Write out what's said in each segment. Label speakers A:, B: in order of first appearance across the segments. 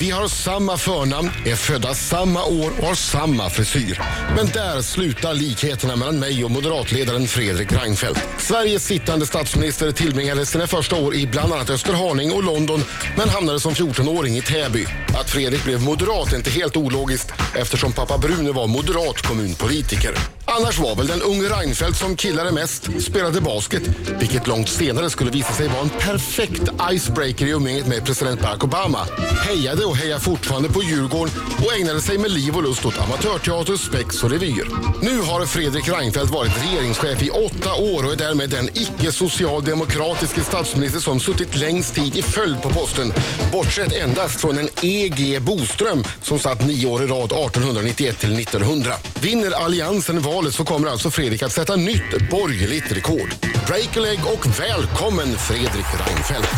A: Vi har samma förnamn, är födda samma år och har samma frisyr. Men där slutar likheterna mellan mig och moderatledaren Fredrik Reinfeldt. Sveriges sittande statsminister tillbringade sina första år i bland annat Österhaning och London men hamnade som 14-åring i Täby. Att Fredrik blev moderat är inte helt ologiskt eftersom pappa Brune var moderat kommunpolitiker. Annars var väl den unge Reinfeldt som killade mest, spelade basket, vilket långt senare skulle visa sig vara en perfekt icebreaker i umgänget med president Barack Obama. Hejade och hejar fortfarande på Djurgården och ägnade sig med liv och lust åt amatörteater, spex och revyer. Nu har Fredrik Reinfeldt varit regeringschef i åtta år och är därmed den icke-socialdemokratiske statsminister som suttit längst tid i följd på posten. Bortsett endast från en E.G. Boström som satt nio år i rad 1891 till 1900. Vinner Alliansen valet så kommer alltså Fredrik att sätta nytt borgerligt rekord. Break a leg och välkommen Fredrik Reinfeldt.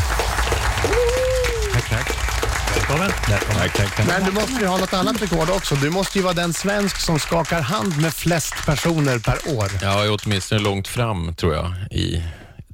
B: Tack, tack. Välkommen. Tack, tack, tack.
C: Men du måste ju ha något annat rekord också. Du måste ju vara den svensk som skakar hand med flest personer per år.
D: Ja, jag är åtminstone långt fram tror jag i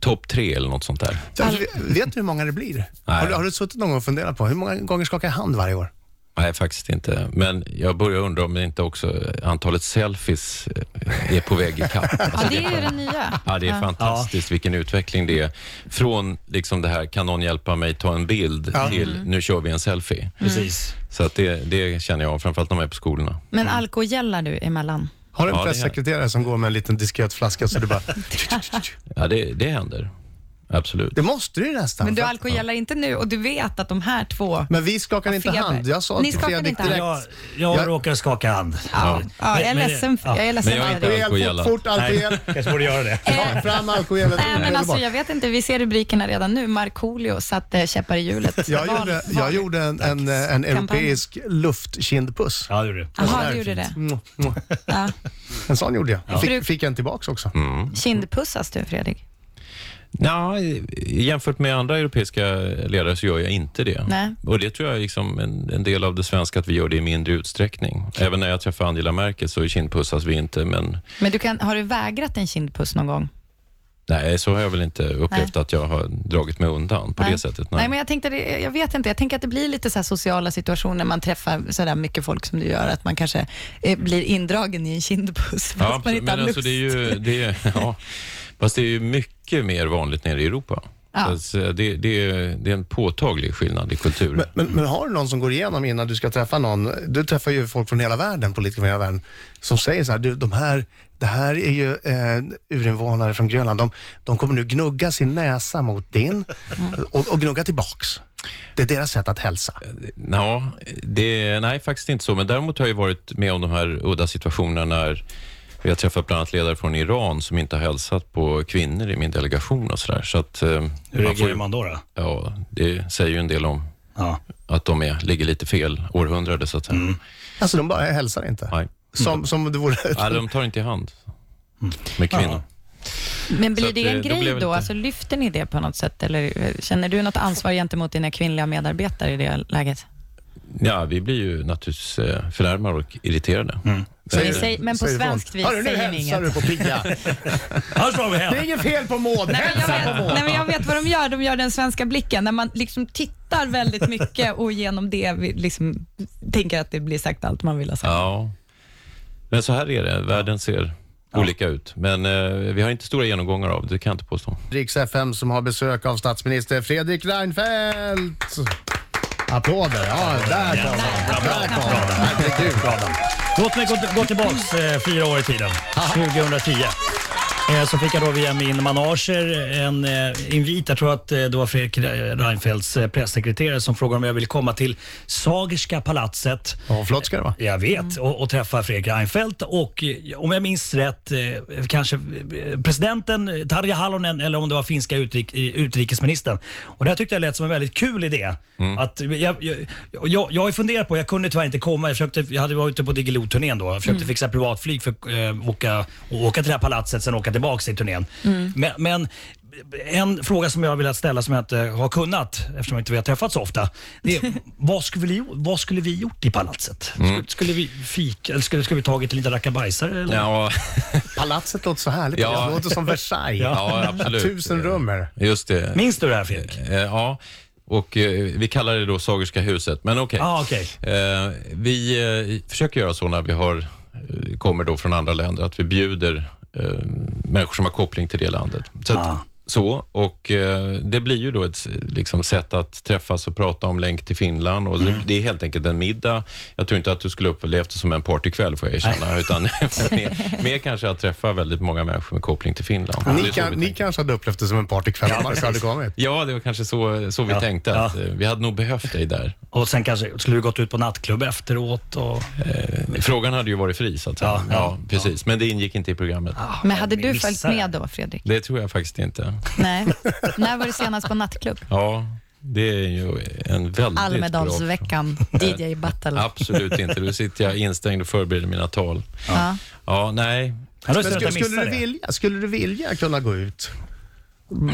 D: topp tre eller något sånt där.
C: Så, Alltså, vet du hur många det blir?
D: Nej.
C: Har du, har du suttit någon gång och funderat på hur många gånger skakar jag hand varje år?
D: Nej, faktiskt inte. Men jag börjar undra om det inte också antalet selfies eh, är på väg i kapp. Alltså,
E: Ja, det är ju Alltså, det nya.
D: Ja, det är fantastiskt vilken utveckling det är. Från liksom det här, kan någon hjälpa mig ta en bild, till nu kör vi en selfie.
B: Precis.
D: Så att det, det känner jag, framförallt när man är på skolorna.
E: Men alkogällar du emellan?
C: Har du en
D: Ja, det är-
C: pressekreterare som går med en liten diskret flaska så du bara...
D: Ja, det, det händer. Absolut.
C: Det måste du ju nästan.
E: Men du
C: för-
E: alkogällar inte nu och du vet att de här två...
C: men vi skakar inte
E: Feber.
C: hand. Jag sa
E: Ni
C: till
E: skakar
C: Fredrik
E: inte
C: direkt.
B: Jag, jag
C: Jag-
B: råkar skaka hand.
E: Ja, ja, jag är ledsen, för, jag är ledsen
D: Men jag är inte-
E: Adrian.
C: Alkohol,
D: Alkohol.
C: fort, fort alkohol.
B: Nej, kanske borde göra det.
C: Ta Fram alkohol.
E: Eh, Nej, men alltså, jag vet inte, vi ser rubrikerna redan nu. Markoolio satte käppar i hjulet.
C: Jag
E: Val-
C: gjorde, jag
E: val-
C: gjorde en, en, en europeisk luftkindpuss.
B: Ja, det gjorde du.
E: Jaha, du gjorde det.
C: Mm, mm.
E: Ja.
C: En sån gjorde jag. Fick, fick en tillbaks också.
D: Mm.
E: Kindpussas du, Fredrik?
D: Ja, jämfört med andra europeiska ledare så gör jag inte det.
E: Nej.
D: Och det tror jag är liksom en, en del av det svenska, att vi gör det i mindre utsträckning. Även när jag träffar Angela Merkel så kindpussas vi inte, men
E: Men du kan, har du vägrat en kindpuss någon gång?
D: nej, så har jag väl inte upplevt att jag har dragit mig undan på det sättet.
E: Nej. men jag tänkte, det- jag vet inte. Jag tänker att det blir lite så här sociala situationer när man träffar så där mycket folk som du gör, att man kanske eh, blir indragen i en kindpuss fast
D: ja,
E: man
D: absolut,
E: inte
D: men
E: har
D: alltså
E: lust.
D: det är ju, det är, ja, fast det är ju mycket mer vanligt nere i Europa.
E: Ja.
D: Så att det, det, är, det är en påtaglig skillnad i kultur.
C: Men, men, men har du någon som går igenom innan du ska träffa någon? Du träffar ju folk från hela världen, politiker från hela världen, som säger så här, du, de här, det här är ju eh, urinvånare från Grönland. De, de kommer nu gnugga sin näsa mot din
E: Mm.
C: och, och gnugga tillbaks. Det är deras sätt att hälsa.
D: Ja, det, nej, faktiskt inte så. Men däremot har jag ju varit med om de här udda situationerna när vi har träffat bland annat ledare från Iran som inte har hälsat på kvinnor i min delegation och sådär. Så att, eh,
B: Hur
D: man får
B: reagerar
D: ju-
B: man då? då?
D: Ja, det säger ju en del om
B: Ja.
D: att de är, ligger lite fel århundrade, så att säga.
C: Alltså de bara hälsar inte.
D: Nej.
C: Som, som om det vore...
D: Nej, de tar inte i hand med kvinnor.
E: Men
D: Så
E: blir
D: att
E: det
D: det-
E: en
D: då
E: grej
D: blev
E: då?
D: det inte-
E: Alltså, lyfter ni det på något sätt? Eller eh, känner du något ansvar gentemot dina kvinnliga medarbetare i det läget?
D: Ja, vi blir ju naturligtvis eh, förnärmade och irriterade.
E: Så ni säger, men på
C: Säger ifrån.
E: svenskt vis
C: Hörru, nu
E: säger ni
C: hälsar
E: inget?
C: du på Pia.
B: Här slår vi hem.
C: Det är inget fel på Maud.
E: Nej men, jag
C: Hälsa på
E: vet,
C: Maud.
E: nej, men jag vet vad de gör. De gör den svenska blicken, när man liksom tittar väldigt mycket och genom det vi liksom tänker att det blir sagt allt man vill ha sagt.
D: Ja. Men så här är det. Världen ser olika ut. Men eh, vi har inte stora genomgångar av det, det kan jag inte påstå.
C: Riks FM som har besök av statsminister Fredrik Reinfeldt. Applåder. Ja, där kom den. Där kom den. Herregud.
B: Låt mig gå, gå tillbaks eh, fyra år i tiden, 2010. Eh, så fick jag då via min manager en eh, invit. Jag tror att eh, det var Fredrik Reinfeldts eh, pressekreterare som frågade om jag ville komma till Sagerska palatset
C: Ja, flott ska det vara.
B: Jag vet, och, och träffa Fredrik Reinfeldt och eh, om jag minns rätt eh, kanske eh, presidenten eh, Tarja Halonen eller om det var finska utrik, eh, utrikesministern. Och det här tyckte jag lät som en väldigt kul idé. Att jag, jag, jag, jag har ju funderat på, jag kunde tyvärr inte komma, jag, försökte, jag hade varit ute på Diggiloo-turnén då. Jag försökte fixa privatflyg för att eh, åka, och åka till det här palatset sen åka tillbaka till turnén. Men, men en fråga som jag har velat ställa som jag inte har kunnat eftersom inte vi har träffats så ofta. Det är, vad, skulle vi, vad skulle vi gjort i palatset?
C: Mm.
B: Skulle, skulle vi fika eller skulle, skulle vi tagit en liten rackabajsare? eller?
D: Ja,
C: Palatset låter så härligt.
D: Ja.
C: Det låter som Versailles.
D: ja absolut.
C: Tusen rummer.
D: Just det.
B: Minns du det här Fredrik?
D: Eh, Ja, Och eh, vi kallar det då Sagerska huset, men okej.
B: Ah, okej.
D: Eh, vi eh, försöker göra så när vi har, eh, kommer då från andra länder, att vi bjuder eh, människor som har koppling till det landet. Så, att,
B: Ah.
D: så och eh, det blir ju då ett liksom, sätt att träffas och prata om länk till Finland. Och
B: Mm.
D: det, det är helt enkelt en middag. Jag tror inte att du skulle upplevt det som en partykväll, får jag erkänna, utan mer, mer kanske att träffa väldigt många människor med koppling till Finland. Det är
C: Ni,
D: så
C: kan,
D: vi
C: ni
D: tänker.
C: kanske hade upplevt det som en partykväll om Marcus hade kommit.
D: Ja, det var kanske så, så vi
B: Ja,
D: tänkte. Att, eh, Vi hade nog behövt dig där.
B: Och sen kanske skulle du gått ut på nattklubb efteråt. Och...
D: Eh, Frågan hade ju varit fri, så att säga.
B: Ja,
D: Ja,
B: ja,
D: precis. Men det ingick inte i programmet.
E: Men hade du
B: Missar
E: följt
B: det.
E: med då, Fredrik?
D: Det tror jag faktiskt inte.
E: Nej. När var du senast på nattklubb?
D: Ja, det är ju en väldigt bra...
E: Almedalsveckan, DJ Battle.
D: Absolut inte. Då sitter jag instängd och förbereder mina tal.
E: Ja.
D: Ja, nej.
B: Ja, då är det
C: Men
B: synd
C: skulle,
B: att jag
C: skulle,
B: missade
C: du
B: det.
C: vilja, skulle du vilja kunna gå ut mm,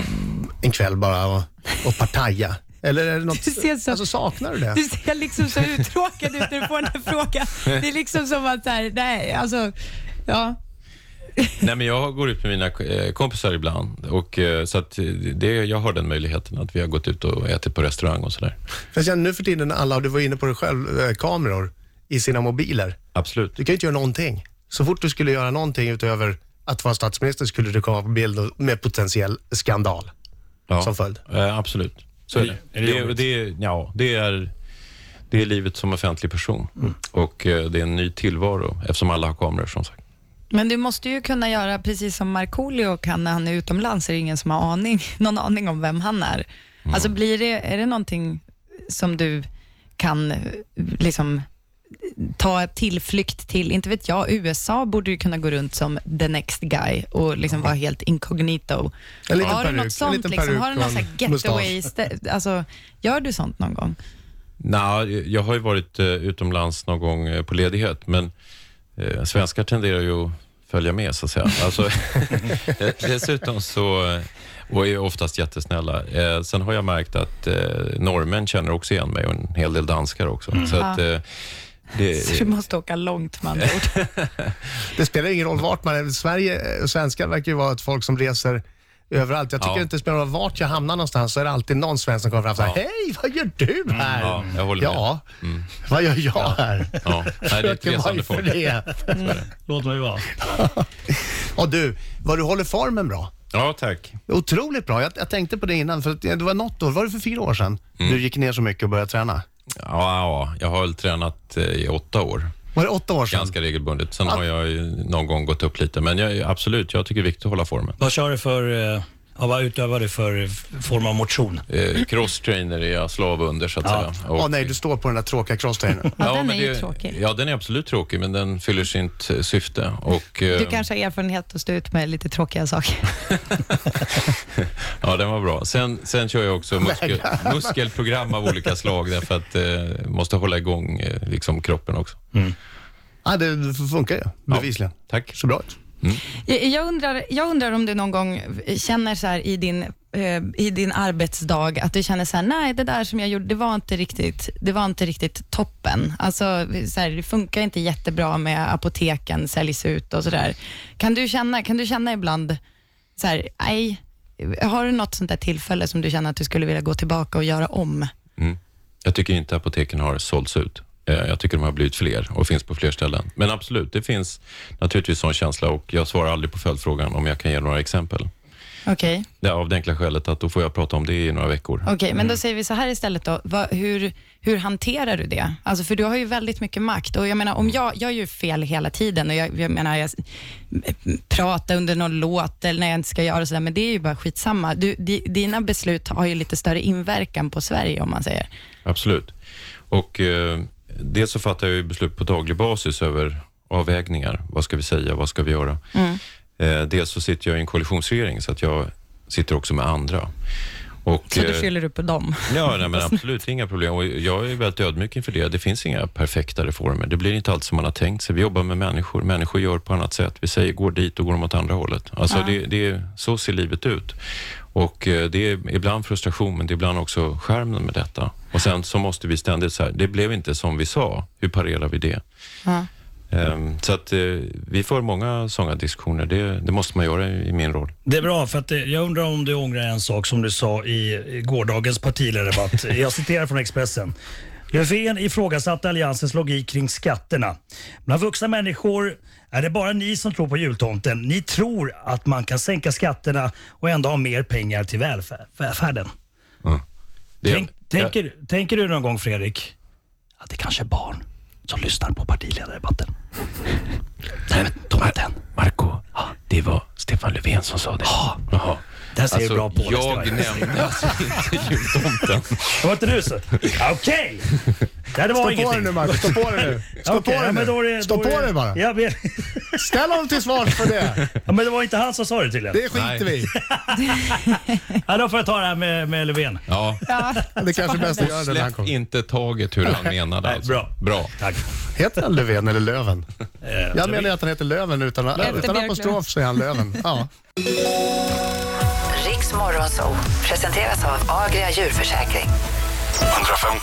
C: en kväll bara och, och partaja? Eller är det något,
E: Du ser så-
C: alltså, saknar du det?
E: Du ser liksom så uttråkad ut när du får den här frågan. Det är liksom som att, så här, nej, alltså, ja.
D: nej, men jag går ut med mina eh, kompisar ibland. Och, eh, så att eh, det, jag har den möjligheten att vi har gått ut och ätit på restaurang och sådär.
C: För jag känner nu för tiden när alla, och du var inne på det själv, eh, kameror i sina mobiler.
D: Absolut.
C: Du kan ju inte göra någonting. Så fort du skulle göra någonting utöver att vara statsminister skulle du komma på bild och- med potentiell skandal.
D: Ja.
C: Som följd.
D: Eh, absolut. Så är det.
B: Är det
D: det,
B: jobbigt?
D: det, ja, det, är, det är livet som offentlig person.
B: Mm.
D: Och eh, det är en ny tillvaro eftersom alla har kameror som sagt.
E: Men du måste ju kunna göra precis som Markoolio kan när han är utomlands, är det ingen som har aning, någon aning om vem han är.
C: Mm.
E: Alltså blir det, är det någonting som du kan eh, liksom ta tillflykt till, inte vet jag, USA borde ju kunna gå runt som the next guy och liksom vara helt incognito.
C: En liten
E: har du
C: peruk, en
E: något sånt
C: liten
E: liksom? Har
C: peruk
E: du någon
C: och
E: sån
C: en
E: här getaway, stä- alltså gör du sånt någon gång?
D: Nej, jag har ju varit eh, utomlands någon gång eh, på ledighet, men eh, svenskar tenderar ju att följa med, så att säga. Alltså, de- dessutom så, eh, och är oftast jättesnälla. Eh, sen har jag märkt att eh, norrmän känner också igen mig och en hel del danskar också.
B: Mm.
D: Så att, eh,
E: Så
C: Eh.
D: det,
E: du måste åka långt man
C: Det spelar ingen roll vart man är. Sverige, eh, svenskar verkar ju vara ett folk som reser överallt. Jag tycker
D: Ja.
C: inte det spelar någon roll vart jag hamnar någonstans så är det alltid någon svensk som kommer fram och säger Hej, vad gör du här?
D: Mm, ja, jag håller med. Mm.
C: ja, vad gör jag här?
D: Ja, nej, det är ett
C: Fröken,
D: resande
C: varför
D: folk.
C: det?
B: Låt mig vara.
C: Och du, vad du håller formen bra.
D: Ja, tack.
C: Otroligt bra. Jag, jag tänkte på det innan, för att det var något år, var det för fyra år sedan,
D: Mm.
C: du gick ner så mycket och började träna?
D: Ja, ja, jag har väl tränat eh, i åtta år.
C: Var det åtta år sedan?
D: Ganska regelbundet. Sen har jag ju någon gång gått upp lite, men jag, absolut, jag tycker det är viktigt att hålla formen.
B: Vad kör du för... eh, Ja, vad utövar du för f- form av motion?
D: Eh, Cross-trainer är jag slav under, så att
B: Ja.
D: säga.
C: Åh
D: Och-
C: nej, du står på den där tråkiga crosstrainern.
E: Ja, den är ju tråkig.
D: Ja, den är absolut tråkig, men den fyller sitt eh, syfte. Och, eh,
E: Du kanske har erfarenhet att stå ut med lite tråkiga saker.
D: Ja, den var bra. Sen, sen kör jag också muskel, muskelprogram av olika slag, därför att eh, måste hålla igång eh, liksom, kroppen också.
B: Mm.
C: ja, det funkar ju, bevisligen.
D: Tack.
C: Så bra ut.
E: Jag jag undrar, jag undrar om du någon gång känner så här i din, eh, i din arbetsdag, att du känner så här, nej det där som jag gjorde, det var inte riktigt, det var inte riktigt toppen. Alltså, så här, det funkar inte jättebra med apoteken, säljs ut och sådär. Kan, du känna- kan du känna ibland, så här, nej, har du något sånt där tillfälle som du känner att du skulle vilja gå tillbaka och göra om?
D: Mm. Jag tycker inte apoteken har sålts ut. Eh, Jag tycker de har blivit fler och finns på fler ställen. Men absolut, det finns naturligtvis sån känsla och jag svarar aldrig på följdfrågan om jag kan ge några exempel.
E: Okej.
D: Det är av det enkla skälet att då får jag prata om det i några veckor.
E: Okej, men då säger vi så här istället då. Va, hur, hur hanterar du det? Alltså, för du har ju väldigt mycket makt och jag menar, om jag, jag gör fel hela tiden och jag, jag menar, jag s- pratar under någon låt eller när jag inte ska göra sådär, men det är ju bara skitsamma. Du, di, dina beslut har ju lite större inverkan på Sverige om man säger.
D: Absolut. Och eh, dels så fattar jag ju beslut på daglig basis över avvägningar. Vad ska vi säga? Vad ska vi göra?
E: Mm.
D: Eh, dels så sitter jag i en koalitionsregering så att jag sitter också med andra. Och,
E: Så du
D: eh,
E: skyller du på dem.
D: Ja, nej, men absolut, inga problem. Och jag är väldigt ödmjuk inför det. Det finns inga perfekta reformer. Det blir inte allt som man har tänkt sig. Vi jobbar med människor. Människor gör på annat sätt. Vi säger går dit och går de åt andra hållet. Alltså, det, det, är- så ser livet ut. Och eh, det är ibland frustration, men det är ibland också skärmen med detta. Och sen så måste vi ständigt så här, det blev inte som vi sa. Hur parerar vi det? Ehm, Så att eh, vi får många sådana diskussioner. Det, det måste man göra i i min roll.
B: Det är bra, för att eh, jag undrar om du ångrar en sak som du sa i i gårdagens partiledardebatt. jag citerar från Expressen. Löfven ifrågasatte Alliansens logik kring skatterna. Bland vuxna människor är det bara ni som tror på jultomten. Ni tror att man kan sänka skatterna och ändå ha mer pengar till välfär- välfärden.
D: Det,
B: Tänk, tänker, tänker du någon gång, Fredrik, att det kanske är barn som lyssnar på partiledardebatten? Nej, men de är inte än.
D: Marco, det var Stefan Löfven som sa det. Jaha.
B: Det här ser
D: Alltså,
B: du bra på. det ska
D: jag
B: jag-
D: nämnde alltså inte jultomten.
B: Det var inte du så? Ja, Okej! Det här, Det var
C: Stå på dig
B: ingenting.
C: nu Marcus, stå på dig nu. Stå
B: Okej,
C: på
B: ja,
C: dig
B: men då är
C: nu.
B: det-
C: Stå
B: då
C: på
B: är det-
C: dig bara.
B: Ja, men,
C: Ställ honom till svars för det.
B: ja, men det var inte han som sa det tydligen.
C: Det skiter vi i.
B: Ja, då får jag ta det här med, med Löfven.
D: Ja.
E: Ja.
C: Det kanske är bäst att göra det när han
D: Släpp
C: kommer.
D: inte taget hur han menade.
B: Nej,
D: Alltså.
B: bra.
D: bra.
B: Tack.
C: Heter han Löfven eller Löven?
B: Eh,
C: Jag menar ju att han heter Löven utan, utan
E: Björklund.
C: apostrof så är han Löven. Ja.
F: Riks Morgonzoo presenteras av Agria djurförsäkring.
G: 105,5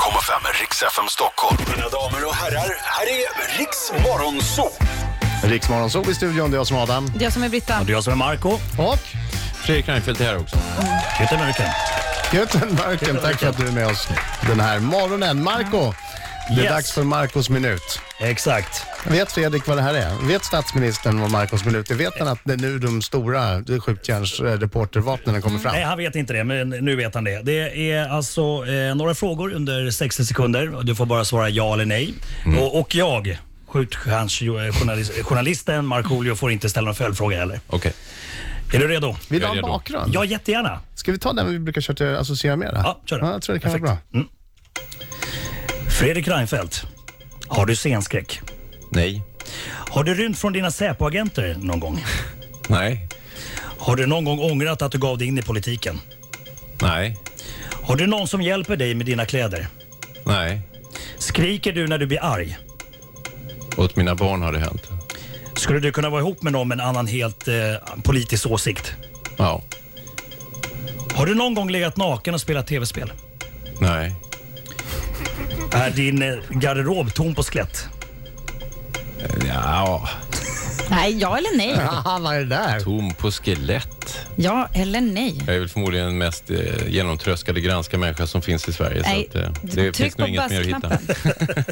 G: Riks FM Stockholm. Mina damer och herrar, här är Riks Morgonzoo.
C: Riksmorgon så i studion, det är jag som är Adam.
E: Jag som är Britta.
B: Och det är jag som är Marco
C: Och
D: Fredrik Reinfeldt är här också.
B: Peter Mörken.
C: Gutenbergen, tack för att du är med oss den här morgonen. Marco, det är
B: Yes.
C: dags för Marcos minut.
B: Exakt.
C: Vet Fredrik vad det här är? Vet statsministern vad Marcos minut är? Vet han att det är nu de stora skjutjärnsreportervapnen kommer fram?
B: Nej, han vet inte det, men nu vet han det. Det är alltså eh, några frågor under 60 sekunder. och Du får bara svara ja eller nej.
C: Mm.
B: Och, och jag, skjutstjärnsjournalisten journalisten Markoolio, får inte ställa någon följdfråga heller.
D: Okej.
B: Är du redo?
C: Vill du ha en
D: Jag är redo.
C: bakgrund?
B: Ja, jättegärna.
C: Ska vi ta den vi brukar köra till associera med? det?
B: Ja, kör den.
C: ja, Jag tror det kan vara
B: Perfekt. Mm. Fredrik Reinfeldt, har du scenskräck?
D: Nej.
B: Har du rymt från dina Säpo-agenter någon gång?
D: Nej.
B: Har du någon gång ångrat att du gav dig in i politiken?
D: Nej.
B: Har du någon som hjälper dig med dina kläder?
D: Nej.
B: Skriker du när du blir arg?
D: Åt mina barn har det hänt.
B: Skulle du kunna vara ihop med någon med en annan helt eh, politisk åsikt?
D: Ja.
B: Har du någon gång legat naken och spelat tv-spel?
D: Nej.
B: Är din eh, garderob tom på skelett?
D: Ja.
E: Nej, ja eller nej.
C: bra. Haha, vad är det där?
D: Tom på skelett.
E: Ja eller nej.
D: Jag är väl förmodligen den mest eh, genomtröskade granska människa som finns i Sverige.
E: Nej,
D: så att, eh,
E: d-
D: det
E: tryck
D: finns
E: på
D: nog inget mer att hitta.
E: buzzknappen.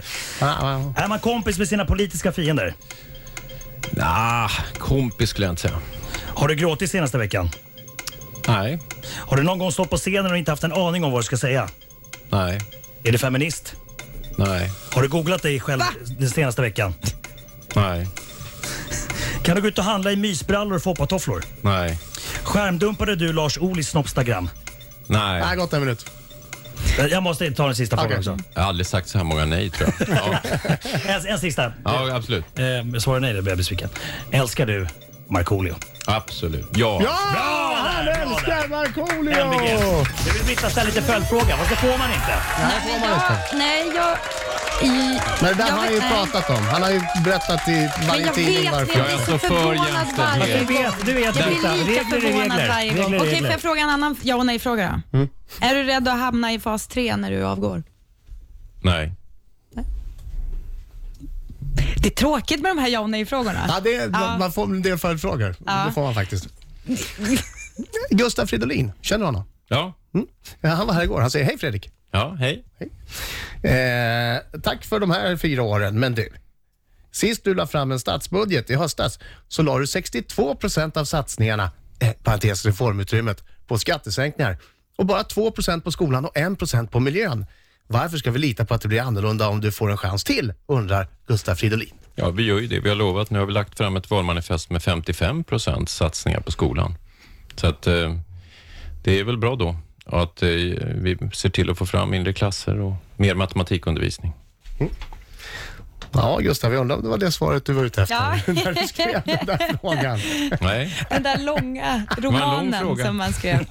C: Ah, ah,
B: Är man kompis med sina politiska fiender?
D: Nah, kompis skulle jag inte säga.
B: Har du gråtit senaste veckan?
D: Nej.
B: Har du någon gång stått på scenen och inte haft en aning om vad du ska säga?
D: Nej.
B: Är du feminist?
D: Nej.
B: Har du googlat dig själv den senaste veckan?
D: Nej.
B: Kan du gå ut och handla i mysbrallor och foppatofflor?
D: Nej.
B: Skärmdumpade du Lars Ohlys Snopstagram? Eh,
C: ah. ah,
D: Nej.
C: gott en minut.
B: Jag måste ta den sista frågan
C: Okej.
B: också.
D: Jag har aldrig sagt så här många nej tror jag. Ja,
B: En, en sista.
D: ja absolut.
B: Eh, svarar nej, då blir jag besviken. Älskar du Markoolio?
D: Absolut. Ja.
C: Ja, Ah, han
B: där, bra
C: älskar
B: där.
C: Markoolio!
B: MBG. Du vill Britta ställa lite följdfråga, fast det får man inte.
E: Nej, jag, nej, jag... I,
C: Men det där
E: jag
C: har han ju
E: vet- nej.
C: pratat om. Han har ju berättat i
E: Men
C: varje
E: jag
C: tidning
E: vet,
C: varför.
D: Jag
E: jag
D: är
E: blir
D: så
E: så
D: för
E: förvånad varje
D: jämställdhet.
B: Alltså, Du
E: gång.
B: vet, du vet
E: Jag blir
B: Britta.
E: lika
B: Regler är
E: förvånad varje
B: regler.
E: gång.
B: Regler
E: Okej,
B: är
E: får jag
B: regler. Mm.
E: fråga en annan ja och nej-fråga då? Är du rädd att hamna i fas 3 när du avgår?
D: Nej.
E: Det är tråkigt med de här ja och nej-frågorna.
C: Ja, det, är-
E: Ja.
C: Man får en del följdfrågor. Det får man faktiskt. Gustav Fridolin, känner du honom? Mm?
D: Ja.
C: Ja, han var här igår. Han säger hej Fredrik.
D: Ja, hej.
C: Eh, tack för de här fyra åren, men du. Sist du la fram en statsbudget i höstas så la du 62 procent av satsningarna, eh, parentes reformutrymmet, på skattesänkningar och bara 2 procent på skolan och 1 procent på miljön. Varför ska vi lita på att det blir annorlunda om du får en chans till? undrar Gustav Fridolin.
D: Ja, vi gör ju det. Vi har lovat. Nu har vi lagt fram ett valmanifest med 55 procent satsningar på skolan. Så att eh, det är väl bra då Och att eh, vi ser till att få fram mindre klasser och mer matematikundervisning.
C: Ja, Gustav, jag undrar om det var det svaret du var ute efter
E: Ja.
C: när du skrev den där frågan.
D: Nej,
E: Den där långa
D: lång
E: romanen
D: fråga.
E: som man skrev.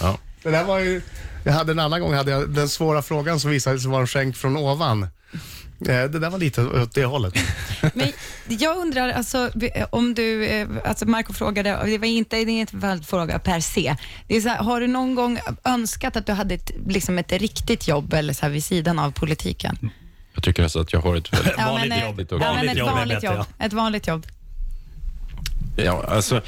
E: Ja.
C: Det där var ju, jag hade en annan gång hade jag den svåra frågan som visade sig vara en skänk från ovan. Eh, Det där var lite åt det hållet.
E: Men jag undrar, alltså, om du, eh, alltså Marco frågade, och det var inte det är inte en följdfråga per se. Det är så här, har du någon gång önskat att du hade ett, liksom ett riktigt jobb eller så här vid sidan av politiken?
D: Jag tycker alltså att jag har ett väldigt...
E: Ja,
B: Vanligt
E: men, eh,
B: jobb.
E: Ja,
D: Vanligt
E: men ett
B: jobb är
E: vanligt
B: bättre,
E: jobb.
B: ja.
E: Ett vanligt jobb.
D: Ja, alltså,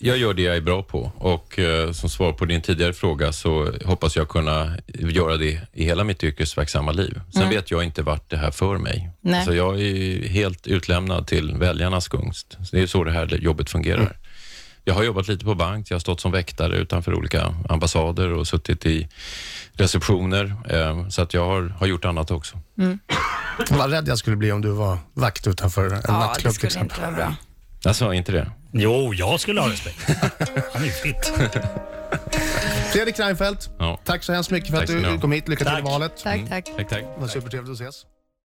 D: jag gör det jag är bra på och eh, som svar på din tidigare fråga så hoppas jag kunna göra det i hela mitt yrkesverksamma liv. Sen vet jag inte vart det här för mig.
E: Nej.
D: Så jag är ju helt utlämnad till väljarnas gunst. Så det är så det här jobbet fungerar. Jag har jobbat lite på bank, jag har stått som väktare utanför olika ambassader och suttit i receptioner. eh, Så att jag har, har gjort annat också.
C: Vad rädd jag skulle bli om du var vakt utanför en
E: Ja, det
C: nattklubb till
E: skulle
C: exempel.
E: inte vara bra.
D: Jag sa Alltså, inte det.
B: Jo, jag skulle ha respekt. Han är ju fit.
C: Fredrik Reinfeldt,
D: Ja.
C: tack så hemskt mycket för
D: Tack
C: att
D: ska ni
C: du
D: ha.
C: kom hit. Lycka till i
B: Tack.
C: valet.
E: Tack, tack.
B: Mm.
D: Tack, tack.
C: Det var supertrevligt att ses.